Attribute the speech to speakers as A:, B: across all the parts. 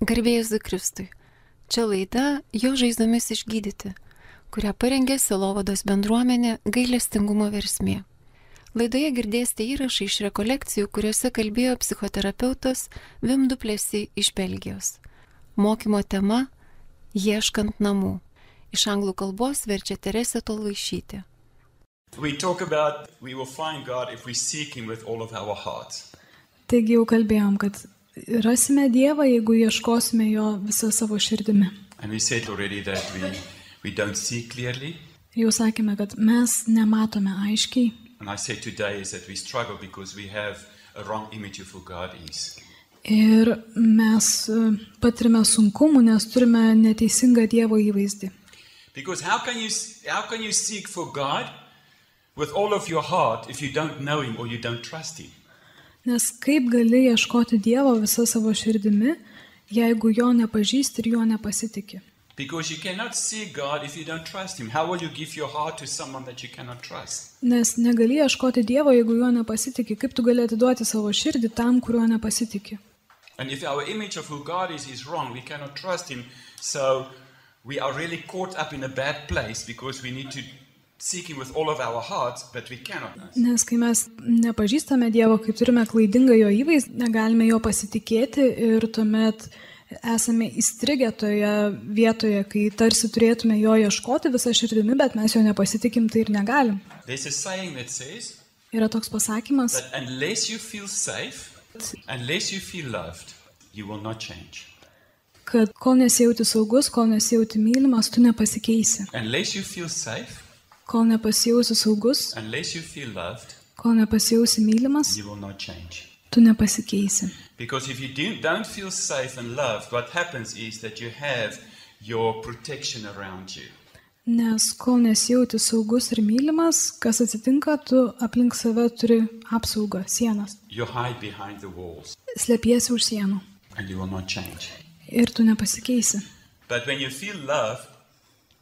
A: Garbėjus Zikristui. Čia laida Jo žaizdomis išgydyti, kurią parengė Silovados bendruomenė gailestingumo versmė. Laidoje girdėsite įrašą iš rekolekcijų, kuriuose kalbėjo psichoterapeutas Vimduplėsi iš Belgijos. Mokymo tema - ieškant namų. Iš anglų kalbos verčia Teresė Tolvaišytė.
B: We talk about we will find God if we seek Him with all of our heart.
C: Taigi jau kalbėjom, kad rasime Dievą, jeigu ieškosime jo visą savo širdimi.
B: And we said already that we, we don't see clearly.
C: Jau sakėme, kad mes nematome aiškiai.
B: And I said today is that we struggle because we have a wrong image of who God is.
C: Ir mes e, patirime sunkumų, nes turime neteisingą Dievo įvaizdį.
B: Because how can you s- how can you seek for God with all of your heart if you don't know Him or you don't trust Him?
C: Nes kaip gali ieškoti Dievo visą savo širdimi, jeigu jo nepažįsti ir jo nepasitikė?
B: Because you cannot seek God if you don't trust Him. How will you give your heart to someone that you cannot trust?
C: Nes negali ieškoti Dievo, jeigu juo nepasitikė. Kaip tu gali atiduoti savo širdį tam, kuriuo nepasitikė?
B: And if our image of who God is is wrong, we cannot trust Him. So we are really caught up in a bad place because we need to seek Him with all of our hearts, but we cannot.
C: Nes kai mes nepažįstame Dievo, kai turime klaidingą jo įvaizdį, negalime jo pasitikėti ir tuomet esame įstrigę toje vietoje, kai tarsi turėtume jo ieškoti visą širdimi, bet mes jo nepasitikim, tai ir negalim.
B: There's a saying that says
C: Yra toks pasakymas,
B: that unless you feel safe, unless you feel loved, you will not change.
C: kad kol nesijauti saugus, kol nesijauti mylimas, tu nepasikeisi.
B: Unless you feel safe,
C: Kol nepasijausi saugus,
B: unless you feel loved,
C: kol nepasijausi mylimas,
B: you will not change.
C: tu nepasikeisi.
B: Because if you do, don't feel safe and loved, what happens is that you have your protection around you.
C: Nes kol nesijauti saugus ir mylimas, kas atsitinka, tu aplink save turi apsaugą, sienas.
B: You hide behind the walls
C: Slepiesi už sienų
B: and you will not change.
C: ir tu nepasikeisi.
B: But when you feel loved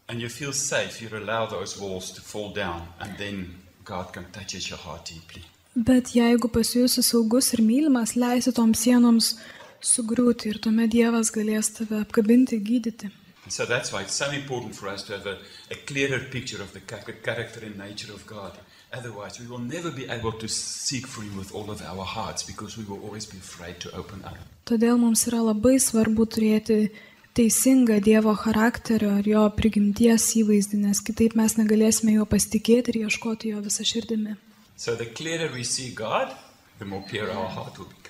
B: and you feel safe, you allow those walls to fall down and then God can touch your heart deeply.
C: Bet jeigu pasijusi saugus ir mylimas, leisi toms sienoms sugriūti ir tuomet Dievas galės tave apkabinti, gydyti.
B: And so that's why it's so important for us to have a, a clearer picture of the cha- character and nature of God. Otherwise, we will never be able to seek for Him with all of our hearts because we will always be afraid to open up.
C: Todėl mums yra labai svarbu turėti teisingą Dievo charakterio ir jo prigimties įvaizdį, nes kitaip mes negalėsime jo pasitikėti ir ieškoti jo visą širdimi.
B: So the clearer we see God, the more pure our heart will become.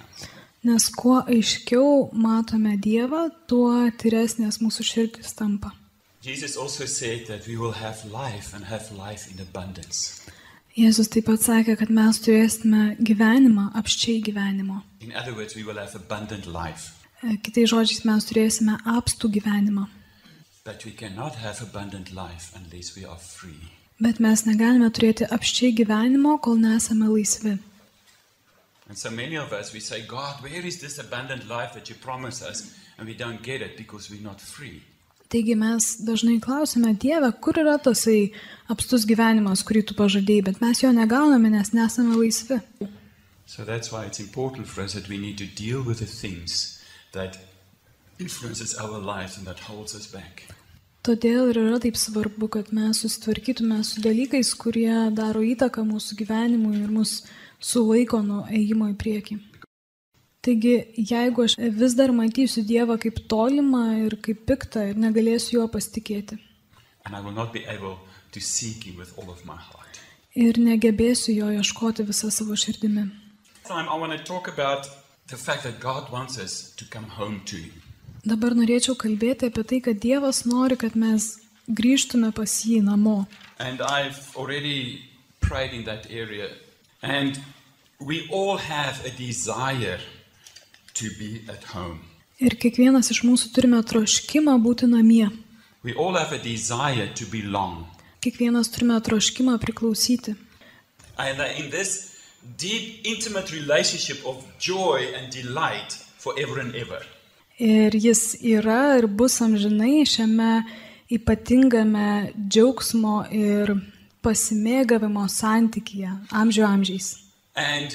C: Nes kuo aiškiau matome Dievą, tuo tyresnės mūsų širdis tampa.
B: Jesus also said that we will have life and have life in abundance.
C: Jėzus taip pat sakė, kad mes turėsime gyvenimą, apščiai gyvenimo.
B: In other words, we will have abundant life.
C: E, Kitais žodžiais mes turėsime apstų gyvenimą.
B: But we cannot have abundant life unless we are free.
C: Bet mes negalime turėti apščiai gyvenimo, kol nesame laisvi.
B: And so many of us, we say, God, where is this abundant life that you promise us? And we don't get it because we're not free.
C: Taigi mes dažnai klausime Dievę, kur yra tasai apstus gyvenimas, kurį tu pažadėjai, bet mes jo negauname, nes nesame laisvi.
B: So that's why it's important for us that we need to deal with the things that influences our lives and that holds us back.
C: Todėl ir yra taip svarbu, kad mes susitvarkytume su dalykais, kurie daro įtaką mūsų gyvenimui ir mus sulaiko nuo ėjimo į priekį. Taigi, jeigu aš vis dar matysiu Dievą kaip tolimą ir kaip piktą ir negalėsiu juo pasitikėti
B: And I will not be able to seek Him with all of my heart.
C: ir negebėsiu jo ieškoti visą savo širdimi.
B: This time, I want to talk about the fact that God wants us to come home to Him.
C: Dabar norėčiau kalbėti apie tai, kad Dievas nori, kad mes grįžtume pas jį namo.
B: And I've already prayed in that area. And we all have a desire to be at home.
C: Ir kiekvienas iš mūsų turime troškimą būti namie.
B: We all have a desire to belong.
C: Kiekvienas turime troškimą priklausyti.
B: And that in this deep, intimate relationship of joy and delight forever and ever.
C: Ir jis yra ir bus amžinai šiame ypatingame džiaugsmo ir pasimėgavimo santykėje amžių amžiais.
B: And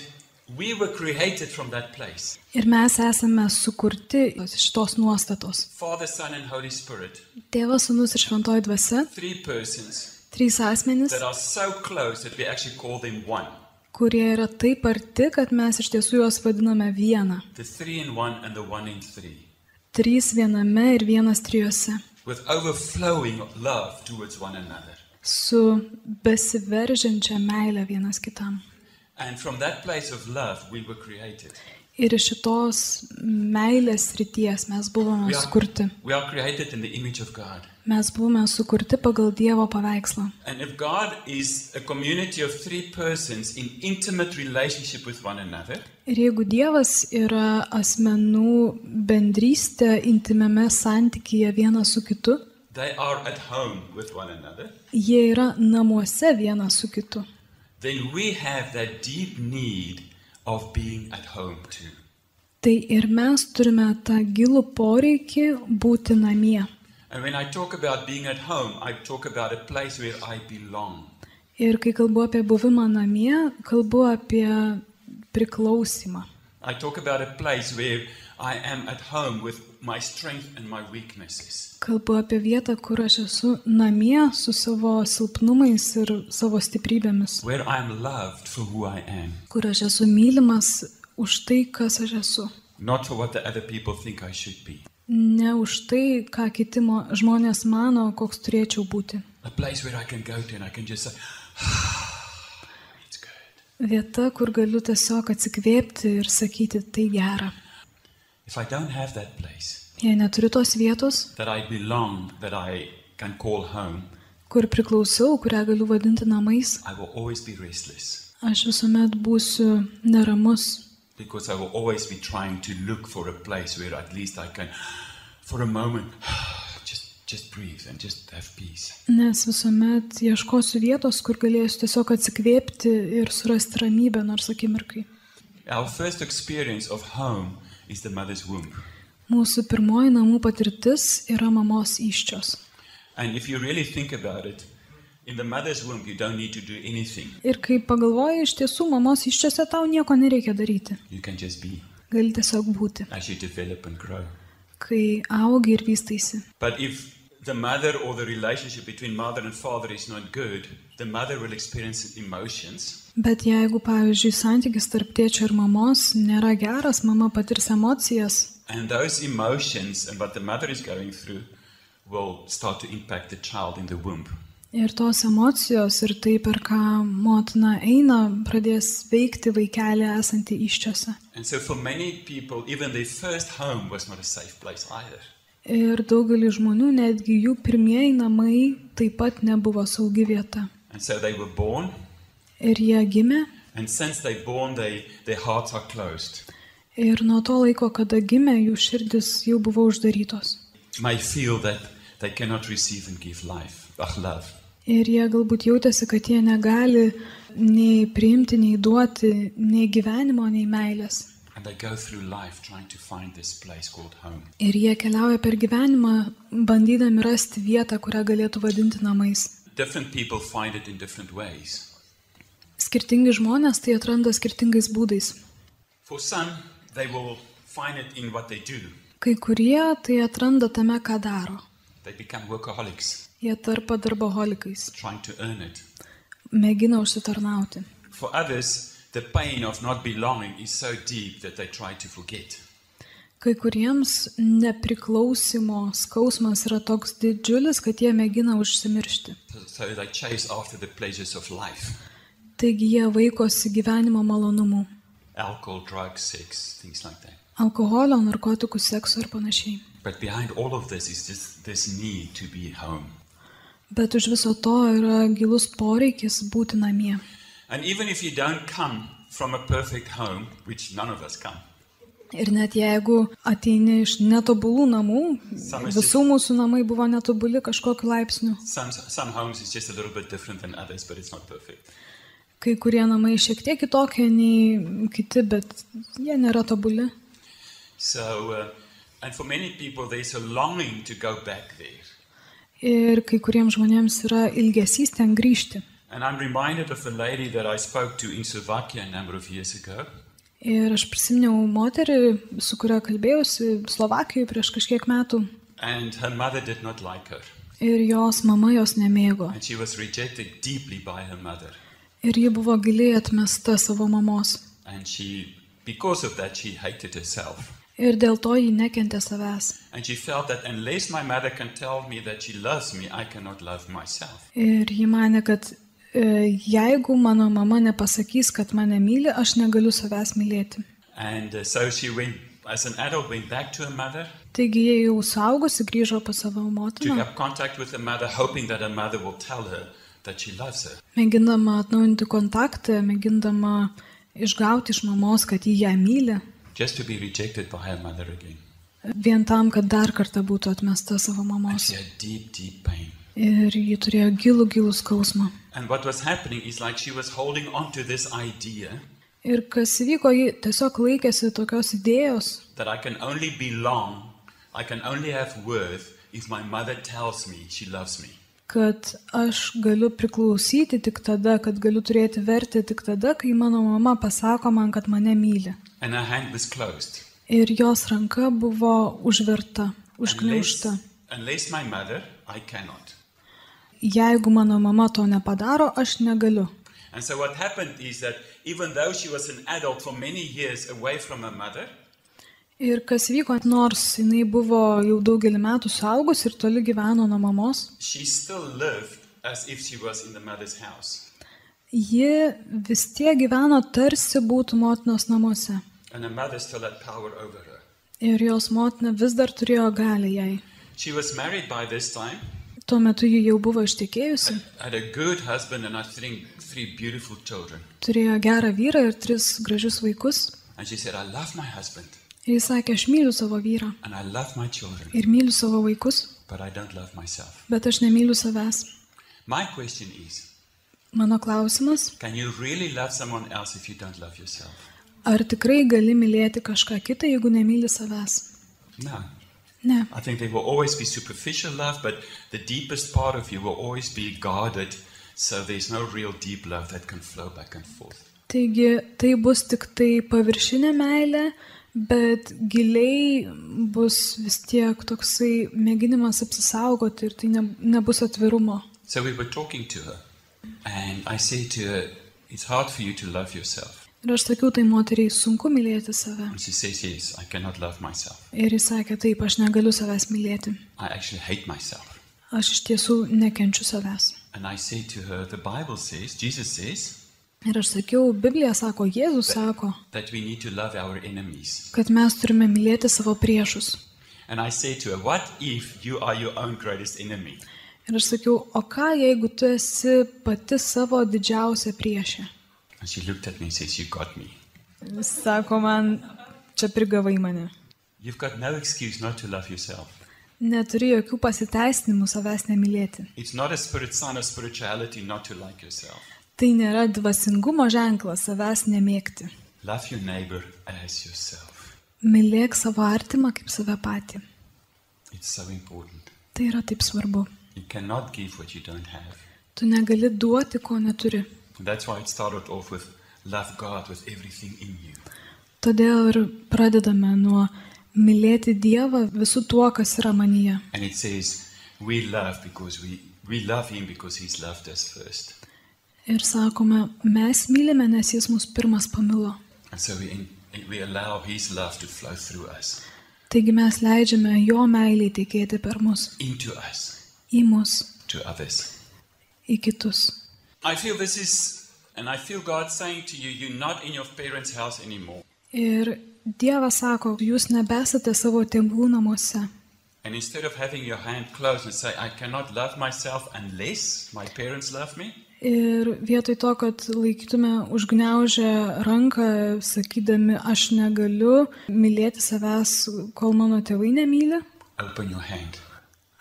B: We were created from that place.
C: Ir mes esame sukurti iš šitos nuostatos.
B: Father, Son, and Holy Spirit,
C: Tėvas, Sūnus ir Šventoji Dvasia
B: three persons
C: - trys asmenys,
B: that are so close that we actually call them one.
C: kurie yra taip arti, kad mes iš tiesų juos vadiname viena.
B: The three in one and the one in three.
C: Trys viename ir vienas trijose.
B: With overflowing love towards one another.
C: Su besiveržiančia meile vienas kitam.
B: And from that place of love, we were created.
C: Ir iš šitos meilės ryties mes buvome
B: We are-
C: sukurti.
B: we are created in the image of God.
C: Mes buvome sukurti pagal Dievo paveikslą.
B: And if God is a community of three persons in intimate relationship with one another,
C: Ir jeigu Dievas yra asmenų bendrystė intimiame santykyje vienas su kitu,
B: they are at home with one another,
C: jie yra namuose vienas su kitu,
B: then we have that deep need of being at home too.
C: tai ir mes turime tą gilų poreikį būti namie.
B: And when I talk about being at home, I talk about a place where I belong.
C: Ir kai kalbu apie buvimą namie, kalbu apie priklausimą.
B: I talk about a place where I am at home with my strength and my weaknesses.
C: Kalbu apie vietą, kur aš esu namie su savo silpnumais ir savo stiprybėmis,
B: Where I am loved for who I am,
C: kur aš esu mylimas už tai, kas aš esu.
B: not for what the other people think I should be.
C: Ne už tai, ką kiti mo- žmonės mano, koks turėčiau būti.
B: A place where I can go to and I can just say, it's good.
C: Vieta, kur galiu tiesiog atsikvėpti ir sakyti, tai gera.
B: If I don't have that place
C: Jei neturiu tos vietos,
B: that I belong, that I can call home,
C: kur priklausau, kurią galiu vadinti namais,
B: I will always be restless
C: aš visuomet būsiu neramus,
B: because I will always be trying to look for a place where at least I can, for a moment, just, just breathe and just have peace.
C: nes visuomet ieškosiu vietos, kur galėsiu tiesiog atsikvėpti ir surasti ramybę nors akimirkai.
B: Our first experience of home is the mother's womb.
C: Mūsų pirmoji namų patirtis yra mamos iščios.
B: And if you really think about it, in the mother's womb, you don't need to do anything.
C: Ir kai pagalvoji, iš tiesų mamos iščiose tau nieko nereikia daryti.
B: You can just be
C: Gali tiesiog būti,
B: as you develop and grow.
C: kai augi ir vystaisi.
B: But if the mother or the relationship between mother and father is not good, the mother will experience emotions
C: Bet jeigu, pavyzdžiui, santykis tarp tėčio ir mamos nėra geras, mama patirs emocijas
B: and those emotions and what the mother is going through will start to impact the child in the womb.
C: ir tos emocijos ir tai, per ką motina eina, pradės veikti vaikelį esantį iščiose.
B: And so for many people, even their first home was not a safe place either.
C: Ir daugelis žmonių, netgi jų pirmieji namai, taip pat nebuvo saugi vieta.
B: And so they were born,
C: Ir jie gimė,
B: and since they're born, they, their hearts are closed.
C: ir nuo to laiko, kada gimė, jų širdis jau buvo uždarytos.
B: May feel that they cannot receive and give life, ach, love.
C: Ir jie galbūt jautėsi, kad jie negali nei priimti, nei duoti, nei gyvenimo, nei meilės.
B: And they go through life trying to find this place called home.
C: Ir jie keliauja per gyvenimą, bandydami rasti vietą, kurią galėtų vadinti namais.
B: Different people find it in different ways.
C: Skirtingi žmonės tai atranda skirtingais būdais.
B: For some, they will find it in what they do.
C: Kai kurie tai atranda tame, ką daro.
B: They become workaholics,
C: Jie tarpa darboholikais,
B: trying to earn it.
C: mėgina užsitarnauti.
B: For others, the pain of not belonging is so deep that they try to forget.
C: Kai kuriems nepriklausimo skausmas yra toks didžiulis, kad jie mėgina užsimiršti.
B: So- So they chase after the pleasures of life
C: Taigi jie vaikosi gyvenimo malonumų
B: alcohol, drugs, sex, things like that.
C: - alkoholio, narkotikų, sekso ir panašiai.
B: But behind all of this is this, this need to be home.
C: Bet už viso to yra gilus poreikis būti namie.
B: And even if you don't come from a perfect home, which none of us come,
C: Ir net jeigu ateini iš netobulų namų,
B: Samas-
C: visų mūsų namai buvo netobuli kažkokiu laipsniu.
B: Some, some homes is just a little bit different than others, but it's not perfect.
C: Kai kurie namai šiek tiek kitokie nei kiti, bet jie nėra tobuli.
B: So, uh, and for many people, there's a longing to go back there.
C: Ir kai kuriems žmonėms yra ilgesys ten grįžti.
B: And I'm reminded of the lady that I spoke to in Slovakia a number of years ago.
C: Ir aš prisiminiau moterį, su kuria kalbėjausi Slovakijoje prieš kažkiek metų.
B: And her mother did not like her.
C: Ir jos mama jos nemėgo.
B: And she was rejected deeply by her mother.
C: Ir ji buvo giliai atmesta savo mamos.
B: And she, because of that, she hated herself.
C: Ir dėl to ji nekentė savęs.
B: And she felt that unless my mother can tell me that she loves me, I cannot love myself.
C: Ir ji mane, kad e, jeigu mano mama nepasakys, kad mane myli, aš negaliu savęs mylėti.
B: And uh, so she went, as an adult, went back to her mother,
C: Taigi jie jau suaugusi grįžo pas savo
B: took
C: motiną,
B: up contact with her mother, hoping that her mother will tell her that she loves her.
C: mėgindama atnaujinti kontaktą, mėgindama išgauti iš mamos, kad ji ją myli,
B: just to be rejected by her mother again.
C: vien tam, kad dar kartą būtų atmesta savo
B: And
C: mamos.
B: she had deep, deep pain.
C: Ir ji turėjo gilų, gilų skausmą.
B: And what was happening is like she was holding on to this idea
C: Ir kas įvyko, ji tiesiog laikėsi tokios idėjos,
B: that I can only belong, I can only have worth if my mother tells me she loves me.
C: kad aš galiu priklausyti tik tada, kad galiu turėti vertę tik tada, kai mano mama pasako man, kad mane myli.
B: And her hand was closed.
C: Ir jos ranka buvo užverta,
B: Unless,
C: užkniaužta.
B: unless my mother, I cannot.
C: Jeigu mano mama to nepadaro, aš negaliu.
B: And so what happened is that even though she was an adult for many years away from her mother,
C: Ir kas vyko, nors jinai buvo jau daugelį metų suaugus ir toli gyveno nuo mamos,
B: she still lived as if she was in the mother's house.
C: ji vis tiek gyveno tarsi būtų motinos namuose.
B: And her mother still had power over her.
C: Ir jos motina vis dar turėjo galią jai.
B: She was married by this time,
C: Tuo metu ji jau buvo ištekėjusi.
B: had a good husband, and I think three beautiful children.
C: turėjo gerą vyrą ir tris gražius vaikus.
B: And she said, I love my husband
C: Ir jis sakė, aš myliu savo vyrą
B: and I love my children,
C: ir myliu savo vaikus,
B: but I don't love myself.
C: bet aš nemyliu savęs.
B: My question is
C: Mano klausimas,
B: can you really love someone else if you don't love yourself?
C: ar tikrai gali mylėti kažką kitą, jeigu nemyli savęs?
B: No.
C: Ne.
B: I think there will always be superficial love, but the deepest part of you will always be guarded, so there's no real deep love that can flow back and forth.
C: Taigi tai bus tik tai paviršinė meilė, bet giliai bus vis tiek toksai mėginimas apsisaugoti ir tai ne, nebus atvirumo.
B: So we were talking to her, and I said to her, It's hard for you to love yourself.
C: Ir aš sakiau, tai moteriai sunku mylėti save.
B: And she says, Yes, I cannot love myself.
C: Ir jis sakė, taip, aš negaliu savęs mylėti.
B: I actually hate myself.
C: Aš iš tiesų nekenčiu savęs.
B: And I say to her, The Bible says, Jesus says,
C: Ir aš sakiau, Biblija sako, Jėzus sako,
B: that we need to love our enemies.
C: kad mes turime mylėti savo priešus.
B: And I say to her, What if you are your own greatest enemy?
C: Ir aš sakiau, o ką jeigu tu esi pati savo didžiausia priešė?
B: And she looked at me and says, You got me.
C: Jis sako man, čia prigavai mane.
B: You've got no excuse not to love yourself.
C: Neturi jokių pasiteisinimų savęs nemylėti.
B: It's not a spirit sign of spirituality not to like yourself.
C: Tai nėra dvasingumo ženklas savęs nemėgti.
B: Love your neighbor as yourself.
C: Mylėk savo artimą kaip save patį.
B: It's so important.
C: Tai yra taip svarbu.
B: You cannot give what you don't have.
C: Tu negali duoti, ko neturi.
B: And that's why it started off with love God with everything in you.
C: Todėl ir pradedame nuo mylėti Dievą visų tuo, kas yra manyje.
B: And it says, we love because we, we love him because he's loved us first.
C: Ir sakome, mes mylime, nes Jis mus pirmas pamilo.
B: And so we, in, we allow his love to flow through us,
C: Taigi mes leidžiame Jo meiliai tekėti per mus,
B: into us,
C: į mus,
B: to others.
C: į kitus.
B: I feel this is, and I feel God saying to you, you're not in your parents' house anymore.
C: Ir Dievas sako, jūs nebesate savo tėvų namuose.
B: And instead of having your hand closed and say, I cannot love myself unless my parents love me,
C: Ir vietoj to, kad laikytume užgneužę ranką, sakydami, aš negaliu mylėti savęs, kol mano tėvai nemyli,
B: open your hand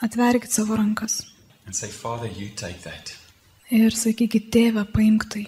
C: atverkit savo rankas.
B: and say, Father, you take that.
C: Ir sakykit, tėve, paimk tai.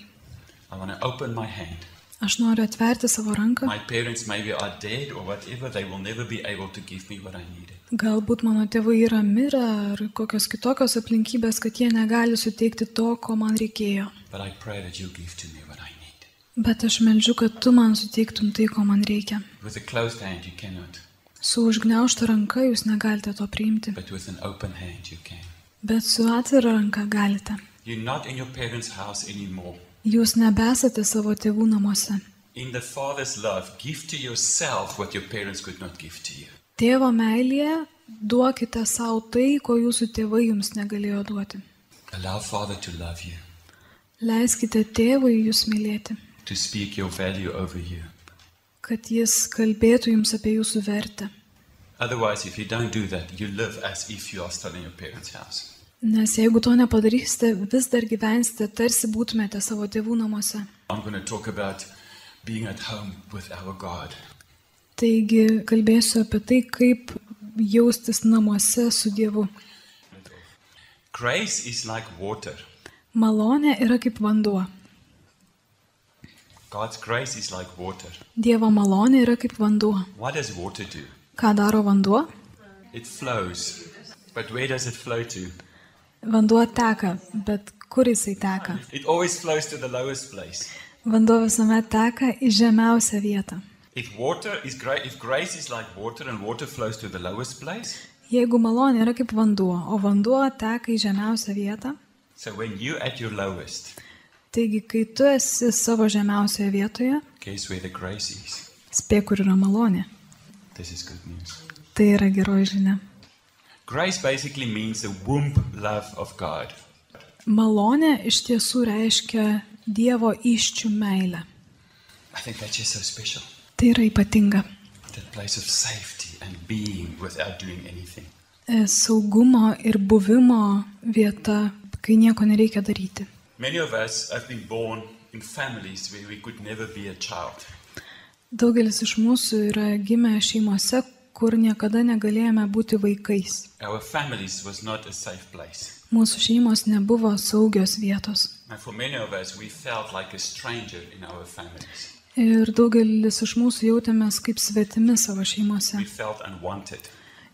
B: I want to open my hand.
C: Aš noriu atverti savo ranką.
B: My parents maybe are dead or whatever, they will never be able to give me what I needed.
C: Galbūt mano tėvai yra mirę ar kokios kitokios aplinkybės, kad jie negali suteikti to, ko man reikėjo.
B: But I pray that you give to me what I need.
C: Bet aš melčiu, kad tu man suteiktum tai, ko man reikia.
B: With a closed hand, you cannot,
C: Su užgneušta ranka jūs negalite to priimti,
B: but with an open hand, you can.
C: bet su atvira ranka galite.
B: You're not in your parents' house anymore.
C: Jūs nebesate savo tėvų namuose.
B: In the Father's love, give to yourself what your parents could not give to you.
C: Tėvo meilėje duokite savo tai, ko jūsų tėvai jums negalėjo duoti.
B: Allow Father to love you,
C: Leiskite tėvui jūs mylėti,
B: to speak your value over you.
C: kad jis kalbėtų jums apie jūsų vertę.
B: Otherwise, if you don't do that, you live as if you are still in your parents' house.
C: Nes jeigu to nepadarysite, vis dar gyvensite, tarsi būtumėte savo tėvų namuose.
B: I'm going to talk about being at home with our God.
C: Taigi kalbėsiu apie tai, kaip jaustis namuose su Dievu.
B: Grace is like water.
C: Malonė yra kaip vanduo.
B: God's grace is like water.
C: Dievo malonė yra kaip vanduo.
B: What does water do?
C: Ką daro vanduo?
B: It flows. But where does it flow to?
C: Vanduo teka, bet kur jisai teka?
B: It always flows to the lowest place.
C: Vanduo visuomet teka į žemiausią vietą.
B: If water is gra- if grace is like water and water flows to the lowest place,
C: Jeigu malonė yra kaip vanduo, o vanduo teka į žemiausią vietą,
B: so when you at your lowest,
C: taigi kai tu esi savo žemiausioje vietoje,
B: guess where the grace is.
C: spėk, kur yra malonė.
B: This is good news.
C: Tai yra geroji žinia.
B: Grace basically means the womb love of God.
C: Malonė iš tiesų reiškia Dievo iščių meilę.
B: I think that's just so special.
C: Tai yra ypatinga.
B: That place of safety and being without doing anything.
C: E, Saugumo ir buvimo vieta, kai nieko nereikia daryti.
B: Many of us have been born in families where we could never be a child.
C: Daugelis iš mūsų yra gimę šeimose, kur niekada negalėjome būti vaikais.
B: Our families was not a safe place.
C: Mūsų šeimos nebuvo saugios vietos.
B: And for many of us, we felt like a stranger in our families.
C: Ir daugelis iš mūsų jautėmės kaip svetimi savo šeimose.
B: We felt unwanted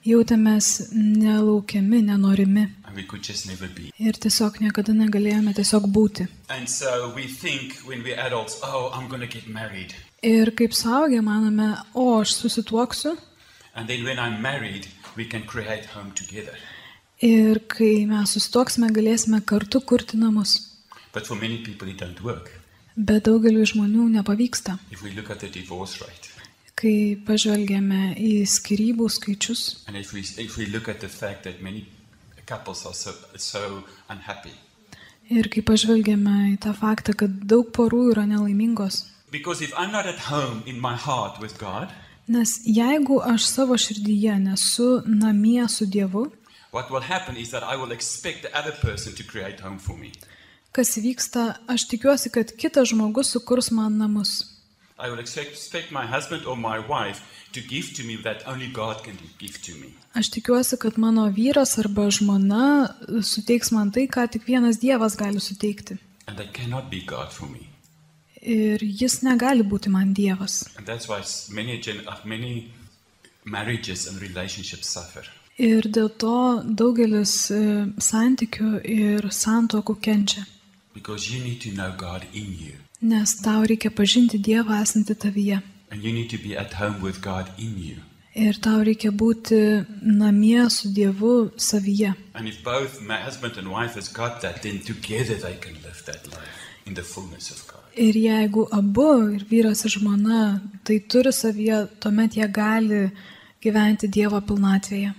C: Jautėmės nelaukiami, nenorimi.
B: and we could just never be.
C: Ir tiesiog niekada negalėjome tiesiog būti.
B: And so we think when we're adults, oh, I'm going to get married.
C: Ir kaip suaugę manome, o aš susituoksiu.
B: And then when I'm married, we can create home together.
C: Ir kai mes susituoksime, galėsime kartu kurti namus.
B: But for many people, it don't work.
C: Bet daugeliu žmonių nepavyksta.
B: If we look at the divorce rate,
C: Kai pažvelgiame į skirybų skaičius
B: and if we, if we look at the fact that many couples are so, so unhappy,
C: ir kai pažvelgiame į tą faktą, kad daug porų yra nelaimingos.
B: Because if I'm not at home in my heart with God,
C: Nes jeigu aš savo širdyje nesu namie su Dievu,
B: what will happen is that I will expect the other person to create home for me.
C: kas vyksta, aš tikiuosi, kad kitas žmogus sukurs man namus.
B: I will expect, expect my husband or my wife to give to me that only God can give to me.
C: Aš tikiuosi, kad mano vyras arba žmona suteiks man tai, ką tik vienas Dievas gali suteikti.
B: And they cannot be God for me.
C: Ir jis negali būti man Dievas.
B: And that's why s- many, gen- uh, many marriages and relationships suffer.
C: Ir dėl to daugelis e, santykių ir santokų kenčia.
B: Because you need to know God in you.
C: Nes tau reikia pažinti Dievą esantį tavyje.
B: And you need to be at home with God in you.
C: Ir tau reikia būti namie su Dievu savyje.
B: And if both my husband and wife has got that, then together they can live that life in the fullness of God.
C: Ir jeigu abu, ir vyras ir žmona, tai turi savyje, tuomet jie gali gyventi Dievo pilnatvėje.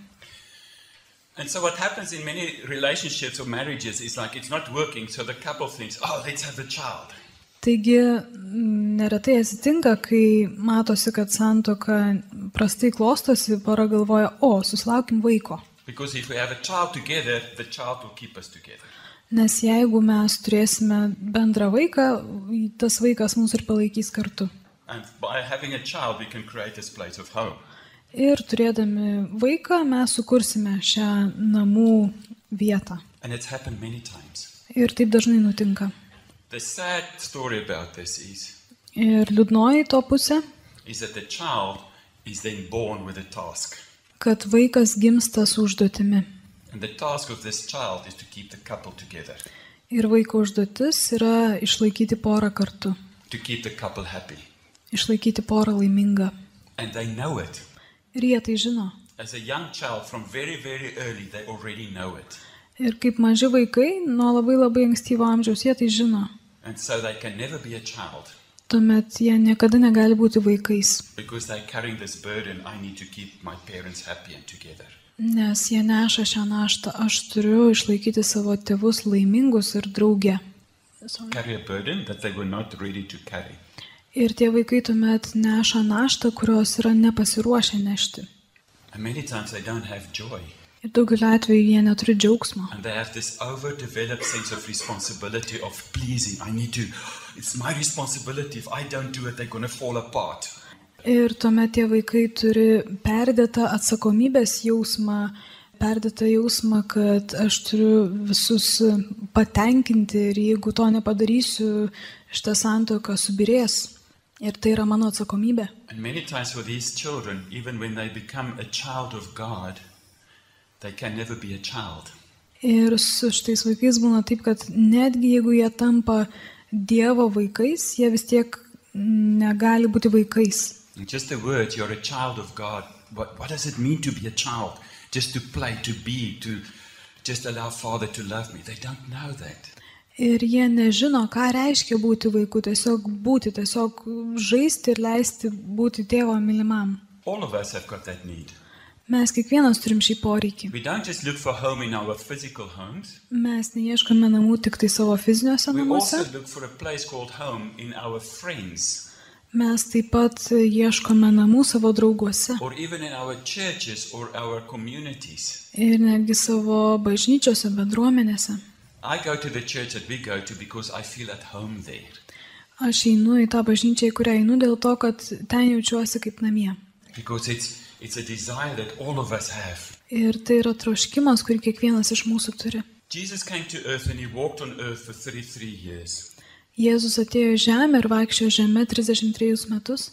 B: And so what happens in many relationships or marriages is like it's not working, so the couple thinks, oh, let's have a child.
C: Taigi m, neretai atsitinka, kai matosi, kad santoka prastai klostosi, pora galvoja, o, susilaukim vaiko.
B: Because if we have a child together, the child will keep us together.
C: Nes jeigu mes turėsime bendrą vaiką, tas vaikas mus ir palaikys kartu.
B: And by having a child, we can create this place of home.
C: Ir turėdami vaiką mes sukursime šią namų vietą.
B: And it's happened many times.
C: Ir taip dažnai nutinka.
B: The sad story about this is,
C: Ir liūdnoji to pusė,
B: is that the child is then born with a task.
C: kad vaikas gimsta su užduotimi.
B: And the task of this child is to keep the couple together.
C: Ir vaiko užduotis yra išlaikyti porą kartu.
B: to keep the couple happy.
C: išlaikyti porą laimingą.
B: And they know it.
C: Ir jie tai žino.
B: As a young child, from very, very early, they already know it.
C: Ir kaip maži vaikai, nuo labai labai ankstyvo amžiaus jie tai žino.
B: And so they can never be a child
C: Tuomet jie niekada negali būti vaikais,
B: because they're carrying this burden I need to keep my parents happy and together.
C: nes jie neša šią naštą. Aš turiu išlaikyti savo tėvus laimingus ir draugę.
B: Carry a burden that they were not ready to carry.
C: Ir tie vaikai tuomet neša naštą, kurios yra nepasiruošę nešti.
B: And many times they don't have joy.
C: Ir daugeliu atveju jie neturi džiaugsmo.
B: And they have this overdeveloped sense of responsibility of pleasing. I need to, it's my responsibility. If I don't do it, they're going to fall apart.
C: Ir tuomet tie vaikai turi perdėtą atsakomybės jausmą, perdėtą jausmą, kad aš turiu visus patenkinti ir jeigu to nepadarysiu, šitą santoką subirės. Ir tai yra mano atsakomybė.
B: And many times for these children, even when they become a child of God, they can never be a child.
C: Ir su šitais vaikais būna taip, kad netgi jeigu jie tampa Dievo vaikais, jie vis tiek negali būti vaikais.
B: And just the word, you're a child of God. What, what does it mean to be a child? Just to play, to be, to just allow Father to love me. They don't know that.
C: Ir jie nežino, ką reiškia būti vaiku, tiesiog būti, tiesiog žaisti ir leisti būti tėvo mylimam.
B: All of us have got that need.
C: Mes kiekvienas turim šį poreikį.
B: We don't just look for home in our physical homes.
C: Mes neieškome namų tik tai savo fiziniuose
B: We
C: namuose,
B: also look for a place called home in our friends
C: mes taip pat ieškome namų savo drauguose
B: or even in our churches or our communities.
C: ir netgi savo bažnyčiose, bendruomenėse.
B: I go to the church that we go to because I feel at home there.
C: Aš einu į tą bažnyčią, į kurią einu dėl to, kad ten jaučiuosi kaip namie.
B: Because it's, it's a desire that all of us have.
C: Ir tai yra troškimas, kurį kiekvienas iš mūsų turi.
B: Jesus came to earth and he walked on earth for 33 years.
C: Jėzus atėjo į žemę ir vaikščiojo žemę 33 metus.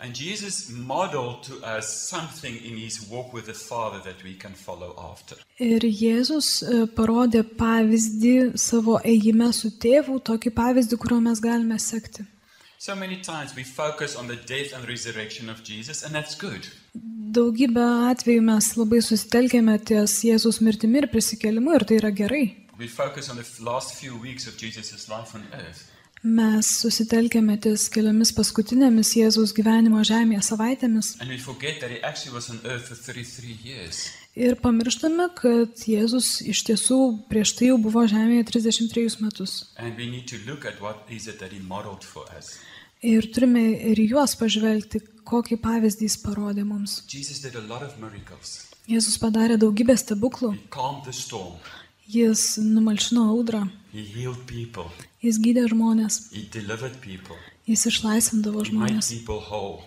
B: And Jesus modeled to us something in his walk with the Father that we can follow after.
C: Ir Jėzus e, parodė pavyzdį savo ėjime su tėvu, tokį pavyzdį, kuriuo mes galime sekti.
B: So many times we focus on the death and resurrection of Jesus, and that's good.
C: Daugybę atvejų mes labai susitelkėme ties Jėzus mirtimi ir prisikelimu ir tai yra gerai.
B: We focus on the f- last few weeks of Jesus' life on earth.
C: Mes susitelkėme ties keliomis paskutinėmis Jėzus gyvenimo žemėje savaitėmis
B: And we forget that he actually was on earth for 33 years.
C: ir pamirštame, kad Jėzus iš tiesų prieš tai jau buvo žemėje 33 metus.
B: And we need to look at what is it that he modeled for us.
C: Ir turime ir į juos pažvelgti, kokį pavyzdį jis parodė mums.
B: Jesus did a lot of miracles.
C: Jėzus padarė daugybę stebuklų.
B: He calmed the storm.
C: Jis numalšino audrą,
B: He healed people.
C: jis gydė žmonės,
B: He delivered people.
C: jis išlaisvindavo
B: He made
C: žmonės,
B: people whole.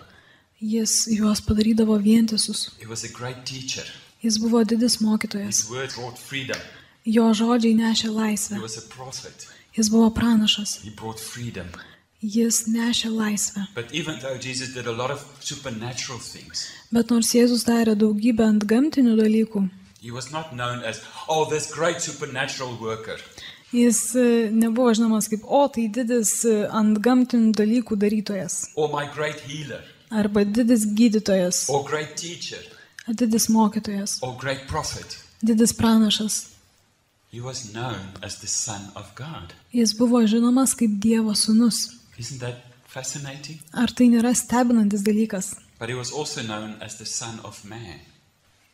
C: jis juos padarydavo vientisus.
B: He was a great teacher.
C: Jis buvo didis mokytojas,
B: His word brought freedom.
C: jo žodžiai nešė
B: He
C: laisvę,
B: was a prophet.
C: jis buvo pranašas,
B: He brought freedom.
C: jis nešė laisvę.
B: But even though Jesus did a lot of supernatural things,
C: Bet nors Jėzus darė daugybę ant gamtinių dalykų,
B: he was not known as, oh, this great supernatural worker.
C: jis e, nebuvo žinomas kaip, o tai didis ant gamtinių dalykų darytojas,
B: or my great healer,
C: arba didis gydytojas,
B: or great teacher,
C: didis mokytojas,
B: or great prophet.
C: didis pranašas.
B: He was known as the Son of God.
C: Jis buvo žinomas kaip Dievo sūnus.
B: Isn't that fascinating?
C: Ar tai nėra stebinantis dalykas,
B: But he was also known as the Son of Man.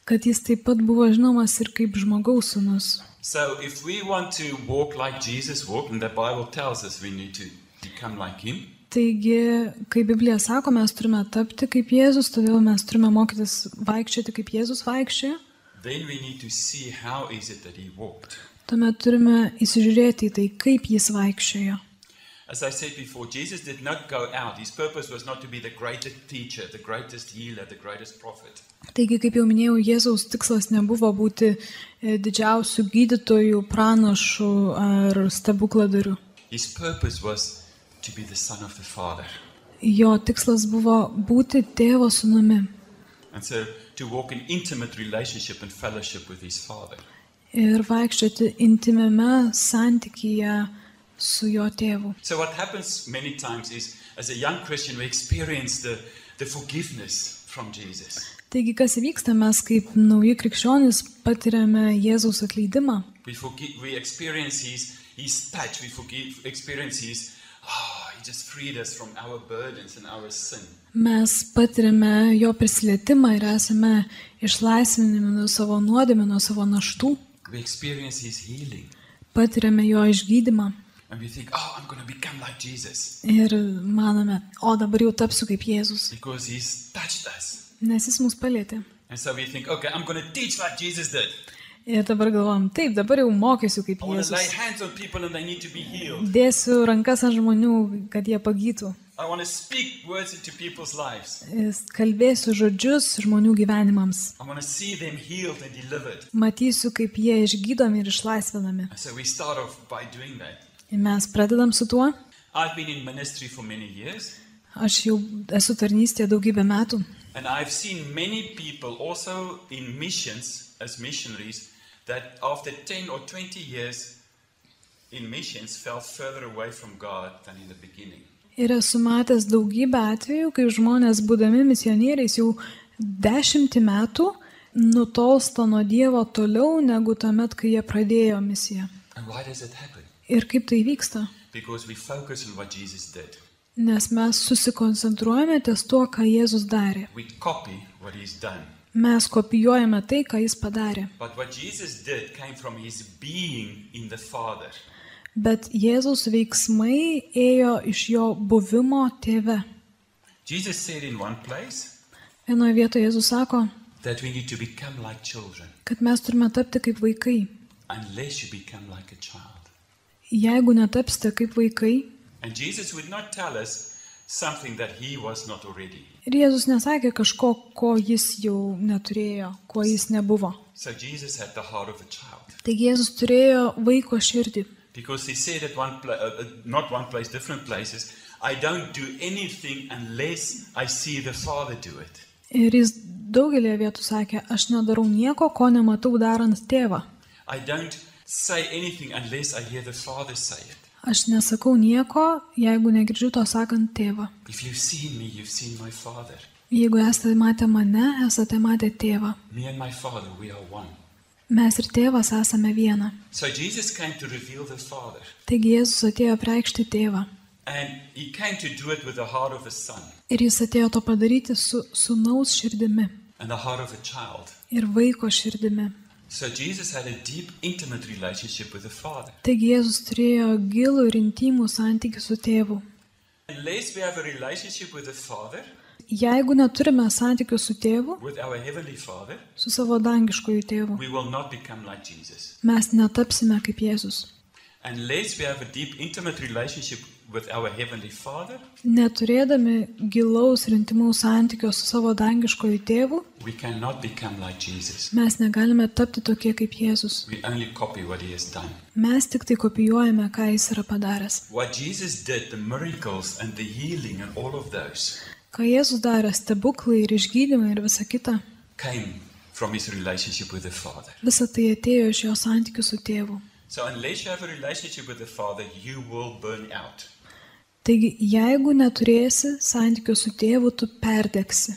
C: kad jis taip pat buvo žinomas ir kaip žmogaus sūnus?
B: So if we want to walk like Jesus walked, and the Bible tells us we need to become like him,
C: Taigi, kaip Biblija sako, mes turime tapti kaip Jėzus, todėl mes turime mokytis vaikščioti kaip Jėzus vaikščioja.
B: then we need to see how is it that he walked.
C: Tuomet turime įsižiūrėti į tai, kaip jis vaikščioja.
B: As I said before, Jesus did not go out. His purpose was not to be the greatest teacher, the greatest healer, the greatest prophet.
C: Taigi, kaip jau minėjau, Jėzaus tikslas nebuvo būti e, didžiausių gydytojų, pranašų ar stebukladarių.
B: His purpose was to be the Son of the Father.
C: Jo tikslas buvo būti tėvo sūnumi
B: And so to walk in intimate relationship and fellowship with his Father.
C: ir vaikščioti intimiame santykyje su jo tėvu.
B: So, what happens many times is, as a young Christian, we experience the, the forgiveness from Jesus.
C: Taigi, kas vyksta, mes kaip nauji krikščionys patiriame Jėzaus atleidimą,
B: We, forgive, we experience his, his touch, we forgive, experience his, ah, he just freed us from our burdens and our sin.
C: mes patiriame jo prisilietimą ir esame išlaisvinami nuo savo nuodėmė, nuo savo naštų,
B: We experience his healing.
C: patiriame jo išgydymą
B: And we think, oh, I'm going to become like Jesus
C: ir manome, o dabar jau tapsiu kaip Jėzus,
B: because he's touched us.
C: nes jis mus palėtė.
B: And so we think, okay, I'm going to teach like Jesus did.
C: Ir dabar galvojam, taip, dabar jau mokysiu kaip
B: I want to lay
C: Jėzus.
B: hands on people and they need to be healed.
C: Dėsiu rankas ant žmonių, kad jie pagytų.
B: I want to speak words into people's lives.
C: Jis- Kalbėsiu žodžius žmonių gyvenimams.
B: I want to see them healed and delivered.
C: Matysiu, kaip jie išgydomi ir išlaisvinami.
B: And so we start off by doing that.
C: Ir mes pradedam su tuo.
B: I've been in ministry for many years,
C: Aš jau esu tarnystėje daugybę metų.
B: and I've seen many people also in missions as missionaries that after 10 or 20 years in missions fell further away from God than in the beginning.
C: Ir esu matęs daugybę atvejų, kai žmonės, būdami misionieriais, jau dešimtį metų nutolsta nuo Dievo toliau negu tuomet, kai jie pradėjo misiją.
B: And why does it happen?
C: Ir kaip tai vyksta?
B: Because we focus on what Jesus did.
C: Nes mes susikoncentruojame ties tuo, ką Jėzus darė.
B: We copy what he's done.
C: Mes kopijuojame tai, ką Jis padarė.
B: But what Jesus did came from his being in the Father.
C: Bet Jėzaus veiksmai ėjo iš jo buvimo tėve.
B: Jesus said in one place
C: Vienoje vietoje Jėzus sako,
B: that we need to become like children,
C: kad mes turime tapti kaip vaikai.
B: unless you become like a child.
C: Jeigu netapsite kaip vaikai,
B: And Jesus would not tell us something that he was not already.
C: ir Jėzus nesakė kažko, ko jis jau neturėjo, ko jis nebuvo.
B: So Jesus had the heart of a child.
C: Taigi Jėzus turėjo vaiko širdį.
B: Because he said at one pla- uh, uh, not one place, different places, I don't do anything unless I see the Father do it.
C: Ir jis daugelį vietų sakė, aš nedarau nieko, ko nematau darant tėvą.
B: I don't say anything unless I hear the Father say it.
C: Aš nesakau nieko, jeigu negirdžiu to sakant tėvą.
B: If you've seen me, you've seen my Father.
C: Jeigu esate matę mane, esate matę tėvą.
B: Me and my Father, we are one.
C: Mes ir tėvas esame viena.
B: So Jesus came to reveal the Father,
C: Taigi Jėzus atėjo preikšti tėvą.
B: and he came to do it with the heart of a son
C: Ir jis atėjo to padaryti su sunaus širdimi
B: and the heart of a child.
C: ir vaiko širdimi.
B: So Jesus had a deep, intimate relationship with the Father.
C: Taigi Jėzus turėjo gilų ir intimų santykių su tėvu.
B: Unless we have a relationship with the Father,
C: Jeigu neturime santykių su tėvu,
B: with our Heavenly Father,
C: su savo dangiškojų tėvu,
B: we will not become like Jesus.
C: mes netapsime kaip Jėzus.
B: Unless we have a deep, intimate relationship with our Heavenly Father,
C: Neturėdami gilaus ir intimaus santykio su savo dangiškojų tėvu,
B: we cannot become like Jesus.
C: mes negalime tapti tokie kaip Jėzus.
B: We only copy what He has done.
C: Mes tik tai kopijuojame, ką jis yra padaręs.
B: What Jesus did, the miracles and the healing and all of those,
C: Ką Jėzus darė, stebuklai ir išgydymai ir visa kita,
B: came from His relationship with the Father.
C: visa tai atėjo iš jo santykių su tėvu.
B: So, unless you have a relationship with the Father, you will burn out.
C: Taigi, jeigu neturėsi santykių su tėvu, tu perdegsi.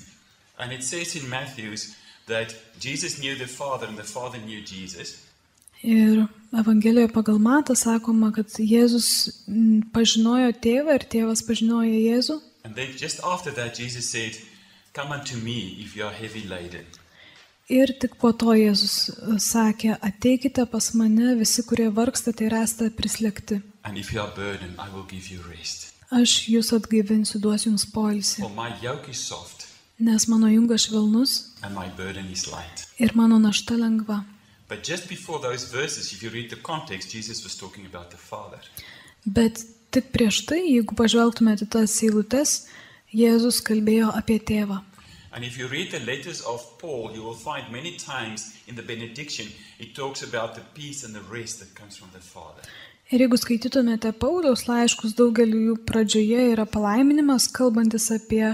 B: And it says in Matthew's that Jesus knew the Father and the Father knew Jesus.
C: Ir Evangelijoje pagal Matą sakoma, kad Jėzus m, pažinojo tėvą ir tėvas pažinojo Jėzų.
B: And then just after that, Jesus said, Come unto me if you are heavy laden.
C: Ir tik po to Jėzus e, sakė, ateikite pas mane visi, kurie vargstate ir esate prislėgti.
B: And if you are burdened, I will give you rest.
C: Aš jūs atgaivinsiu, duosiu jums poilsį,
B: For my yoke is soft
C: nes mano jungas švelnus
B: and my burden is light.
C: ir mano našta lengva.
B: But just before those verses, if you read the context, Jesus was talking about the Father.
C: Bet tik prieš tai, jeigu pažvelgtumėte į tas eilutes, Jėzus kalbėjo apie tėvą.
B: And if you read the letters of Paul, you will find many times in the benediction, it talks about the peace and the rest that comes from the Father.
C: Ir jeigu skaitytumėte Pauliaus laiškus, daugeliu jų pradžioje yra palaiminimas, kalbantis apie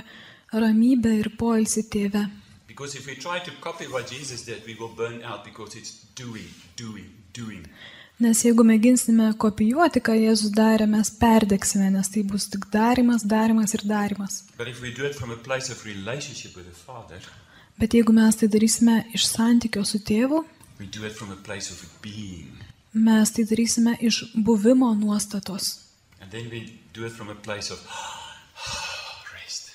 C: ramybę ir poilsį tėvę.
B: Because if we try to copy what Jesus did, we will burn out because it's doing, doing, doing.
C: Nes jeigu mėginsime kopijuoti, ką Jėzus darė, mes perdeksime, nes tai bus tik darimas, darimas ir darimas.
B: But if we do it from a place of relationship with the Father,
C: Bet jeigu mes tai darysime iš santykio su tėvu,
B: we do it from a place of being.
C: mes tai darysime iš buvimo nuostatos.
B: And then we do it from a place of rest.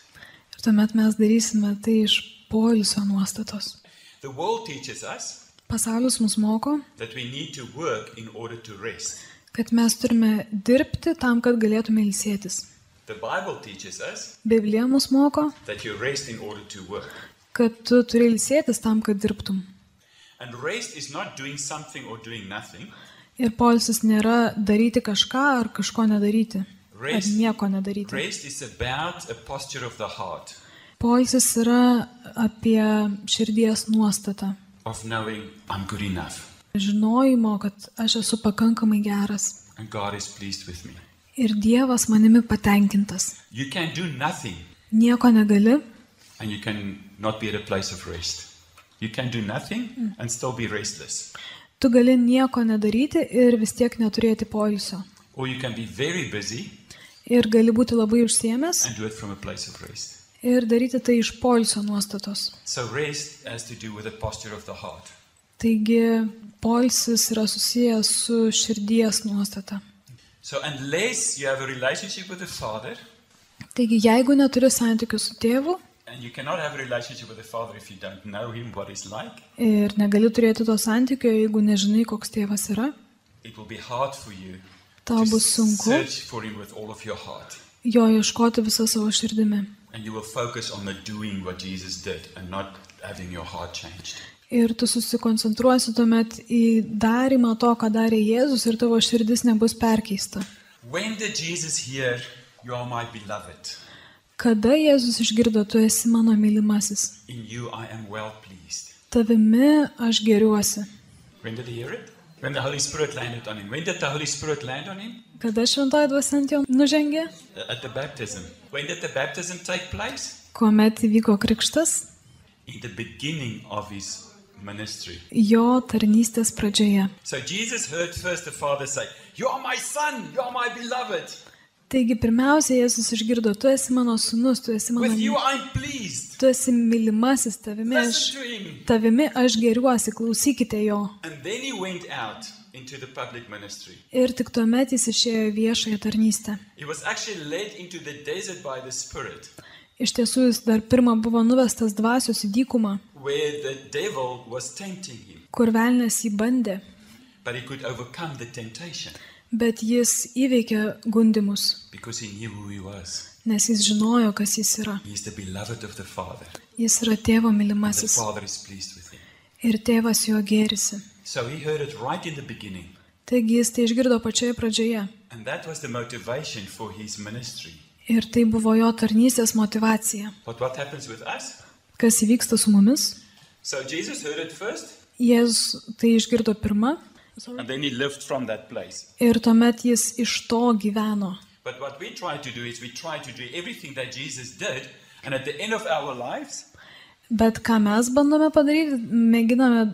C: Ir tuomet mes darysime tai iš poilsio nuostatos.
B: The world teaches us
C: Pasaulis mus moko,
B: that we need to work in order to rest.
C: kad mes turime dirbti tam, kad galėtume ilsėtis.
B: The Bible teaches us
C: Biblija mus moko,
B: that you rest in order to work.
C: kad tu turi ilsėtis tam, kad dirbtum.
B: And rest is not doing something or doing nothing.
C: Ir poilsis nėra daryti kažką ar kažko nedaryti. Ar
B: Rest.
C: nieko nedaryti.
B: Rest is about a posture of the heart,
C: Poilsis yra apie širdies nuostatą.
B: of knowing I'm good enough
C: Žinojimo, kad aš esu pakankamai geras.
B: and God is pleased with me.
C: Ir Dievas manimi patenkintas.
B: You can do nothing
C: Nieko negali
B: and you can not be at a place of rest. You can do nothing and still be restless.
C: Tu gali nieko nedaryti ir vis tiek neturėti poilsio.
B: Or you can be very busy
C: Ir gali būti labai užsiemęs
B: and do it from a place of rest.
C: ir daryti tai iš poilsio nuostatos.
B: So rest has to do with the posture of the heart.
C: Taigi poilsis yra susijęs su širdies nuostata.
B: So unless you have a relationship with the Father,
C: Taigi jeigu neturi santykių su tėvu
B: and you cannot have a relationship with the Father if you don't know Him, what He's like,
C: ir negali turėti to santykio, jeigu nežinai, koks tėvas yra,
B: it will be hard for you
C: tau
B: to
C: bus sunku
B: search for Him with all of your heart.
C: jo ieškoti visą savo širdimi.
B: And you will focus on the doing what Jesus did and not having your heart changed.
C: Ir tu susikoncentruosi tuomet į darimą to, ką darė Jėzus ir tavo širdis nebus perkeista.
B: When did Jesus hear, You are my beloved,
C: Kada Jėzus išgirdo, tu esi mano mylimasis,
B: in you I am well pleased?
C: tavimi aš geriuosi.
B: When did he hear it? When the Holy Spirit landed on him. When did the Holy Spirit land on him?
C: Kada šventoji dvasant jau nužengė,
B: Uh, At the baptism. When did the baptism take place?
C: kuomet įvyko krikštas,
B: in the beginning of his ministry.
C: jo tarnystės pradžioje.
B: So Jesus heard first the Father say, You are my son, you are my beloved.
C: Taigi pirmiausia, Jėzus išgirdo, tu esi mano sunus, tu esi mano
B: With you
C: mylimasis,
B: I'm pleased.
C: tu esi mylimasis, tavimi aš,
B: Listen to him.
C: tavimi aš geriuosi, klausykite jo.
B: And then he went out into the public ministry.
C: Ir tik tuomet jis išėjo į viešąją tarnystę.
B: He was actually led into the desert by the Spirit,
C: Iš tiesų jis dar pirmą buvo nuvestas dvasios į dykumą,
B: where the devil was tempting him.
C: kur velnės jį bandė,
B: But he could overcome the temptation
C: bet jis įveikė gundimus,
B: because he knew who he was.
C: nes jis žinojo, kas jis yra.
B: He is the beloved of the Father.
C: Jis yra tėvo
B: And the
C: mylimasis
B: Father is pleased with him.
C: ir tėvas jo gėrisi.
B: So he heard it right in the beginning.
C: Taigi jis tai išgirdo pačioje pradžioje
B: And that was the motivation for his ministry.
C: ir tai buvo jo tarnystės motivacija.
B: But what happens with us?
C: Kas įvyksta su mumis?
B: So Jesus heard it first,
C: Jėzus tai išgirdo pirmą
B: and then he lived from that place.
C: ir tuomet jis iš to gyveno.
B: But what we try to do is we try to do everything that Jesus did, and at the end of our lives,
C: Bet ką mes bandome padaryti, mėginame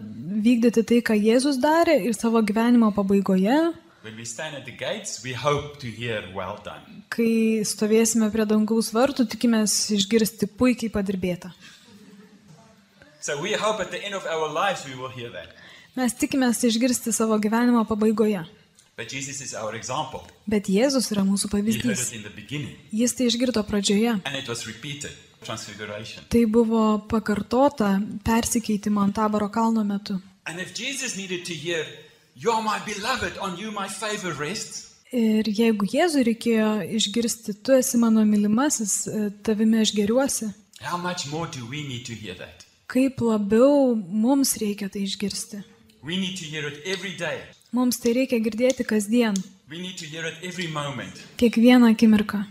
C: vykdyti tai, ką Jėzus darė ir savo gyvenimo pabaigoje,
B: when we stand at the gates, we hope to hear, Well done.
C: kai stovėsime prie dangaus vartų, tikimės išgirsti puikiai padirbėtą.
B: So we hope at the end of our lives we will hear that.
C: Mes tikimės išgirsti savo gyvenimo pabaigoje.
B: But Jesus is our example.
C: Bet Jėzus yra mūsų
B: He heard
C: pavyzdys.
B: it in the beginning,
C: Jis tai išgirdo pradžioje.
B: and it was repeated. Transfiguration.
C: Tai buvo pakartota persikeitimo ant taboro kalno metu.
B: And if Jesus needed to hear, You are my beloved, on you my favor rests,
C: Ir jeigu Jėzui reikėjo išgirsti, tu esi mano mylimasis, e, tavimi aš geriuosi,
B: how much more do we need to hear that?
C: kaip labiau mums reikia tai išgirsti.
B: We need to hear it every day.
C: Mums tai reikia girdėti kasdien,
B: We need to hear it every moment.
C: kiekvieną akimirką.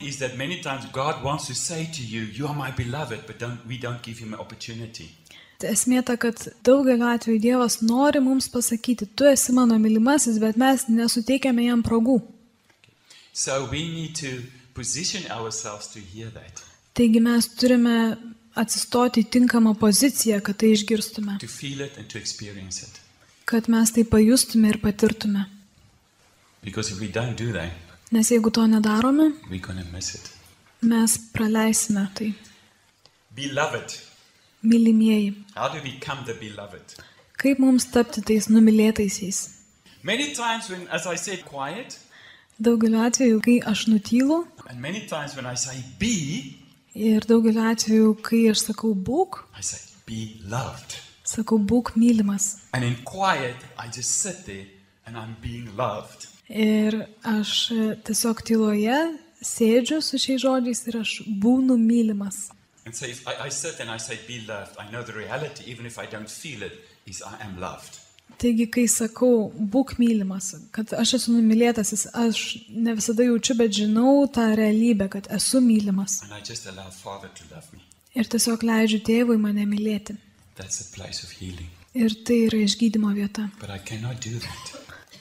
B: Is that many times God wants to say to you, "You are my beloved," but don't, we don't give Him an opportunity.
C: Esmė ta, kad daugeliu atveju Dievas nori mums pasakyti, tu esi mano mylimasis, bet mes nesuteikėme jam progų.
B: So we need to position ourselves to hear that,
C: Taigi mes turime atsistoti į tinkamą poziciją, kad tai išgirstume,
B: to feel it, and to experience it.
C: kad mes tai pajustume ir patirtume.
B: Because if we don't do that,
C: Nes jeigu to nedarome,
B: we're going to miss it.
C: mes praleisime tai.
B: Beloved.
C: Mylimieji,
B: How do we become the beloved?
C: kaip mums tapti tais numylėtaisiais?
B: Many times when, as I say, quiet,
C: Daugeliu atveju, kai aš nutylu
B: and many times when I say be,
C: ir daugeliu atveju, kai aš sakau būk,
B: I say be loved.
C: sakau būk mylimas.
B: And in quiet, I just sit there and I'm being loved.
C: Ir aš e, tiesiog tyloje sėdžiu su šiais žodžiais ir aš būnu mylimas.
B: And so if I, I sit and I say be loved, I know the reality, even if I don't feel it, is I am loved.
C: Taigi, kai sakau, būk mylimas, kad aš esu numylėtasis, aš ne visada jaučiu, bet žinau tą realybę, kad esu mylimas.
B: And I just allow Father to love me.
C: Ir tiesiog leidžiu tėvui mane mylėti.
B: That's a place of healing.
C: Ir tai yra išgydymo vieta.
B: But I cannot do that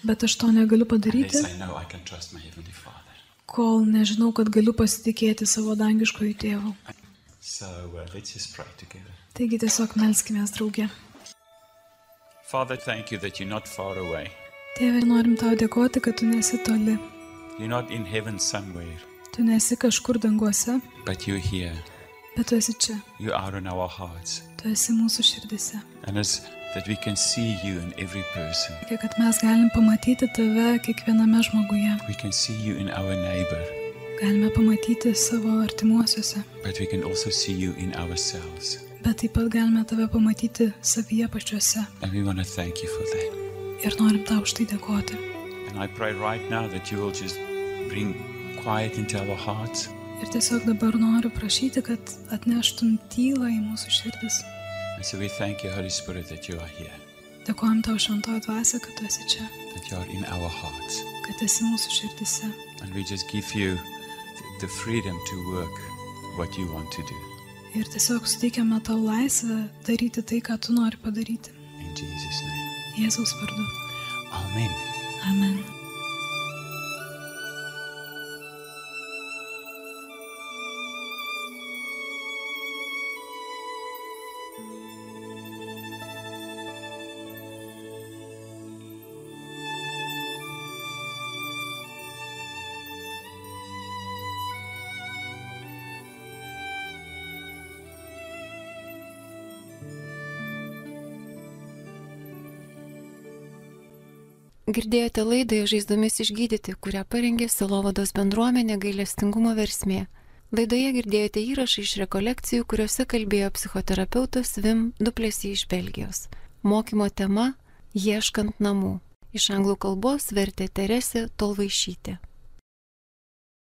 C: Bet aš to negaliu padaryti,
B: unless I know I can trust my Heavenly Father.
C: kol nežinau, kad galiu pasitikėti savo dangiškojų tėvų.
B: So uh, let's just pray together.
C: Taigi tiesiog melskime draugė.
B: Father, thank you that you're not far away.
C: Tėve, norim tau dėkoti, kad tu nesi toli.
B: You're not in heaven somewhere,
C: Tu nesi kažkur danguose,
B: but you're here.
C: bet tu esi čia.
B: You are in our hearts.
C: Tu esi mūsų širdise.
B: And it's that we can see you in every person.
C: Tiek, kad mes galim pamatyti tave kiekviename žmoguje.
B: We can see you in our neighbor,
C: Galime pamatyti savo artimuosiuose,
B: but we can also see you in ourselves.
C: bet taip pat galime tave pamatyti savyje pačiuose.
B: And we want to thank you for that.
C: Ir norim tau už tai dėkoti.
B: And I pray right now that you will just bring quiet into our hearts.
C: Ir tiesiog dabar noriu prašyti, kad atneštum tylą į mūsų širdis.
B: And so we thank you, Holy Spirit, that you are here,
C: Dėkojom tau šentojo dvasia, kad tu esi čia,
B: that you are in our hearts.
C: kad esi mūsų širdise.
B: And we just give you th- the freedom to work what you want to do.
C: Ir tiesiog suteikiame tau laisvę daryti tai, ką tu nori padaryti.
B: In Jesus' name.
C: Jėzaus vardu.
B: Amen.
C: Amen.
A: Girdėjote laidą Žaizdomis išgydyti, kurią parengė Silovados bendruomenė gailestingumo versmė. Laidoje girdėjote įrašą iš rekolekcijų, kuriuose kalbėjo psichoterapeutas Vim Duplesy iš Belgijos. Mokymo tema - ieškant namų. Iš anglų kalbos vertė Teresė Tolvaišytė.